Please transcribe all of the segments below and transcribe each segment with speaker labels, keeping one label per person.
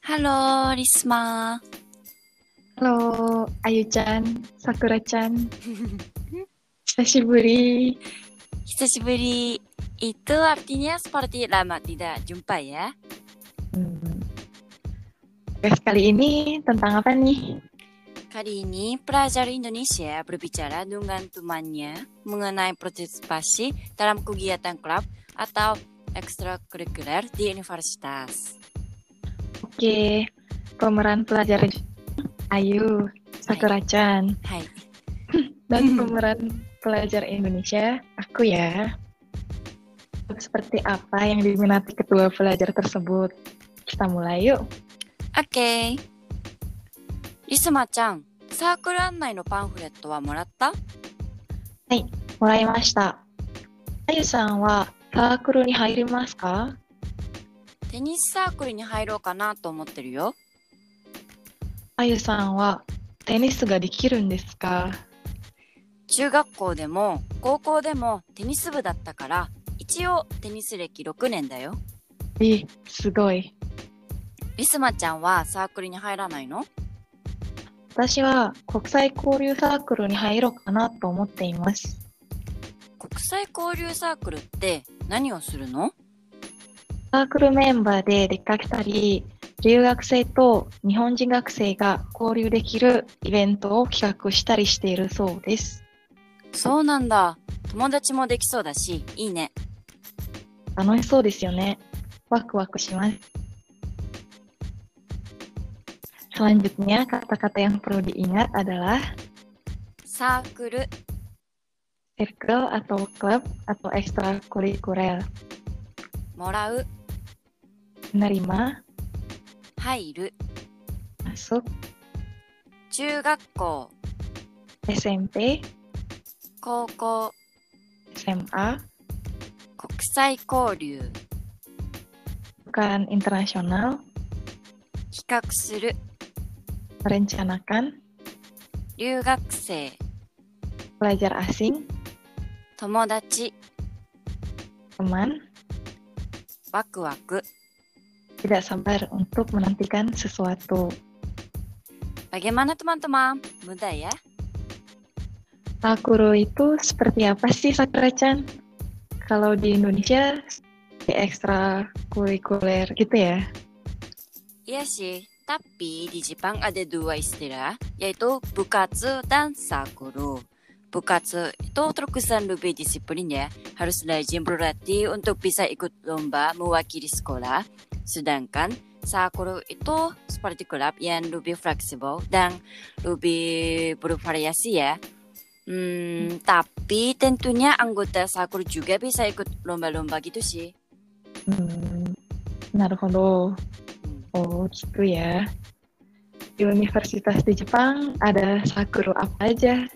Speaker 1: ハロー、リスマー。
Speaker 2: Hello、あゆちゃん、さくらちゃん、久しぶり。
Speaker 1: Kita seberi itu artinya seperti lama tidak jumpa ya.
Speaker 2: Hmm. Podcast kali ini tentang apa nih?
Speaker 1: Kali ini pelajar Indonesia berbicara dengan temannya mengenai partisipasi dalam kegiatan klub atau ekstrakurikuler di universitas.
Speaker 2: Oke, pemeran pelajar Ayu, Sakura Chan,
Speaker 1: Hai.
Speaker 2: dan pemeran pelajar Indonesia, aku ya. Seperti apa yang diminati ketua pelajar tersebut? Kita mulai yuk.
Speaker 1: OK。リスマちゃん、サークル案内のパンフレットはもらった
Speaker 2: もらいました。あゆさんはサークルに入りますか
Speaker 1: テニスサークルに入ろうかなと思ってるよ。
Speaker 2: あゆさんはテニスができるんですか
Speaker 1: 中学校でも高校でもテニス部だったから、一応テニス歴6年だよ。
Speaker 2: え、すごい。
Speaker 1: リスマちゃんはサークルに入らないの
Speaker 2: 私は国際交流サークルに入ろうかなと思っています。
Speaker 1: 国際交流サークルって何をするの
Speaker 2: サークルメンバーで出かけたり、留学生と日本人学生が交流できるイベントを企画したりしているそうです。
Speaker 1: そうなんだ。友達もできそうだし、いいね。
Speaker 2: 楽しそうですよね。ワクワクします。Selanjutnya, kata-kata yang perlu diingat adalah
Speaker 1: サークル、
Speaker 2: circle atau club atau ekstrakurikuler,
Speaker 1: もらう、
Speaker 2: menerima,
Speaker 1: 入る、
Speaker 2: masuk,
Speaker 1: 中学校、
Speaker 2: SMP,
Speaker 1: 高校、
Speaker 2: SMA,
Speaker 1: 国際交流、
Speaker 2: bukan internasional,
Speaker 1: 比較する、
Speaker 2: merencanakan,
Speaker 1: 留学生、
Speaker 2: pelajar asing,
Speaker 1: 友達、
Speaker 2: teman,
Speaker 1: ワクワク、
Speaker 2: tidak sabar untuk menantikan sesuatu.
Speaker 1: バゲマナトマントマン、無駄や。
Speaker 2: Sakuro itu seperti apa sih Sakura-chan? Kalau di Indonesia di ekstrakurikuler gitu ya.
Speaker 1: Iya sih, tapi di Jepang ada dua istilah, yaitu bukatsu dan sakuru. Bukatsu itu terkesan lebih disiplin ya, harus rajin berlatih untuk bisa ikut lomba mewakili sekolah. Sedangkan sakuru itu seperti klub yang lebih fleksibel dan lebih bervariasi ya. Hmm, tapi tentunya anggota sakuru juga bisa ikut lomba-lomba gitu sih.
Speaker 2: Hmm, naruhodo.
Speaker 1: Hmm.
Speaker 2: Oh gitu ya. Di universitas di Jepang ada sakuro apa aja?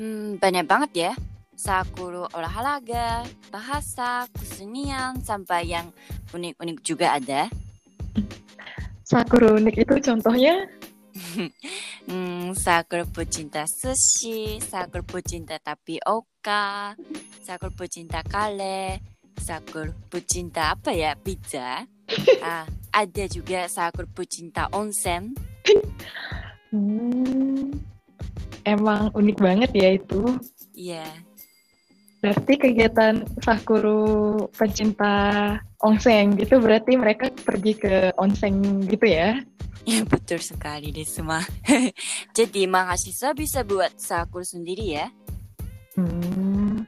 Speaker 1: Hmm, banyak banget ya. Sakuru olahraga, bahasa, kesenian, sampai yang unik-unik juga ada.
Speaker 2: Sakuro unik itu contohnya
Speaker 1: Hmm, sakuru pecinta sushi, sakuru pecinta tapioka, sakuru pecinta kale, sakuru pecinta apa ya, pizza. Ah, ada juga sakuru pecinta onsen.
Speaker 2: Hmm, emang unik banget ya itu.
Speaker 1: Iya,
Speaker 2: Berarti kegiatan sakuru pencinta onsen gitu berarti mereka pergi ke onsen gitu ya.
Speaker 1: ya betul sekali deh semua. Jadi mahasiswa bisa buat sakuru sendiri ya.
Speaker 2: Hmm.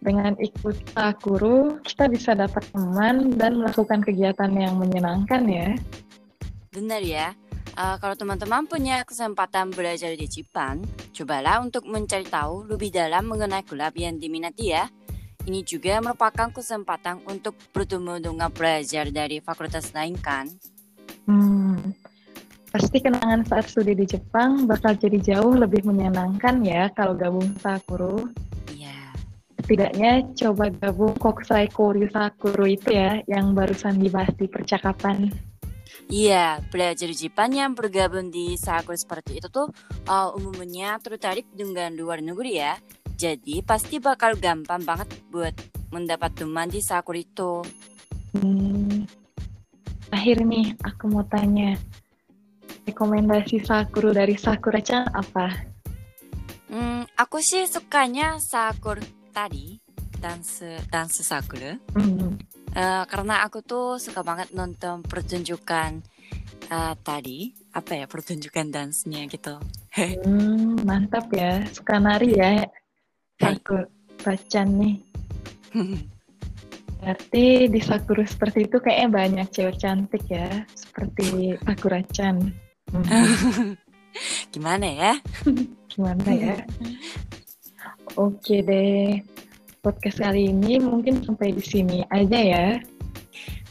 Speaker 2: Dengan ikut sakuru, kita bisa dapat teman dan melakukan kegiatan yang menyenangkan ya.
Speaker 1: Benar ya. Ah, kalau teman-teman punya kesempatan belajar di Jepang, cobalah untuk mencari tahu lebih dalam mengenai klub yang diminati ya. Ini juga merupakan kesempatan untuk bertemu dengan pelajar dari fakultas lain kan?
Speaker 2: Hmm. Pasti kenangan saat studi di Jepang bakal jadi jauh lebih menyenangkan ya kalau gabung sakuru.
Speaker 1: Iya.
Speaker 2: setidaknya coba gabung Kokusai Koryu Sakuru itu ya yang barusan dibahas di percakapan.
Speaker 1: Iya, pelajar Jepang yang bergabung di sakul seperti itu tuh ah, umumnya tertarik dengan luar negeri ya. Jadi pasti bakal gampang banget buat mendapat teman di sakul itu.
Speaker 2: Hmm. Akhir nih, aku mau tanya. Rekomendasi Sakura dari Sakura-chan apa?
Speaker 1: Hmm, aku sih sukanya sakur tadi, dance dance sakur.
Speaker 2: Hmm,
Speaker 1: Eh, karena aku tuh suka banget nonton pertunjukan eh, tadi apa ya pertunjukan dansnya gitu.
Speaker 2: hmm, mantap ya. Suka nari ya. Sakura-chan nih. Berarti di Sakura seperti itu kayaknya banyak cewek cantik ya. Seperti Sakura-chan. Hmm,
Speaker 1: Gimana ya?
Speaker 2: gimana ya? Oke deh. Podcast kali ini mungkin sampai di sini aja ya.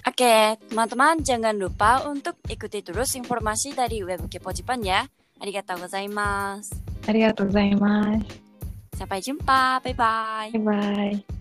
Speaker 1: Oke, teman-teman jangan lupa untuk ikuti terus informasi dari web Kepo Jepang ya. Arigatou gozaimasu.
Speaker 2: Arigatou gozaimasu.
Speaker 1: Sampai jumpa. Bye bye.
Speaker 2: Bye-bye.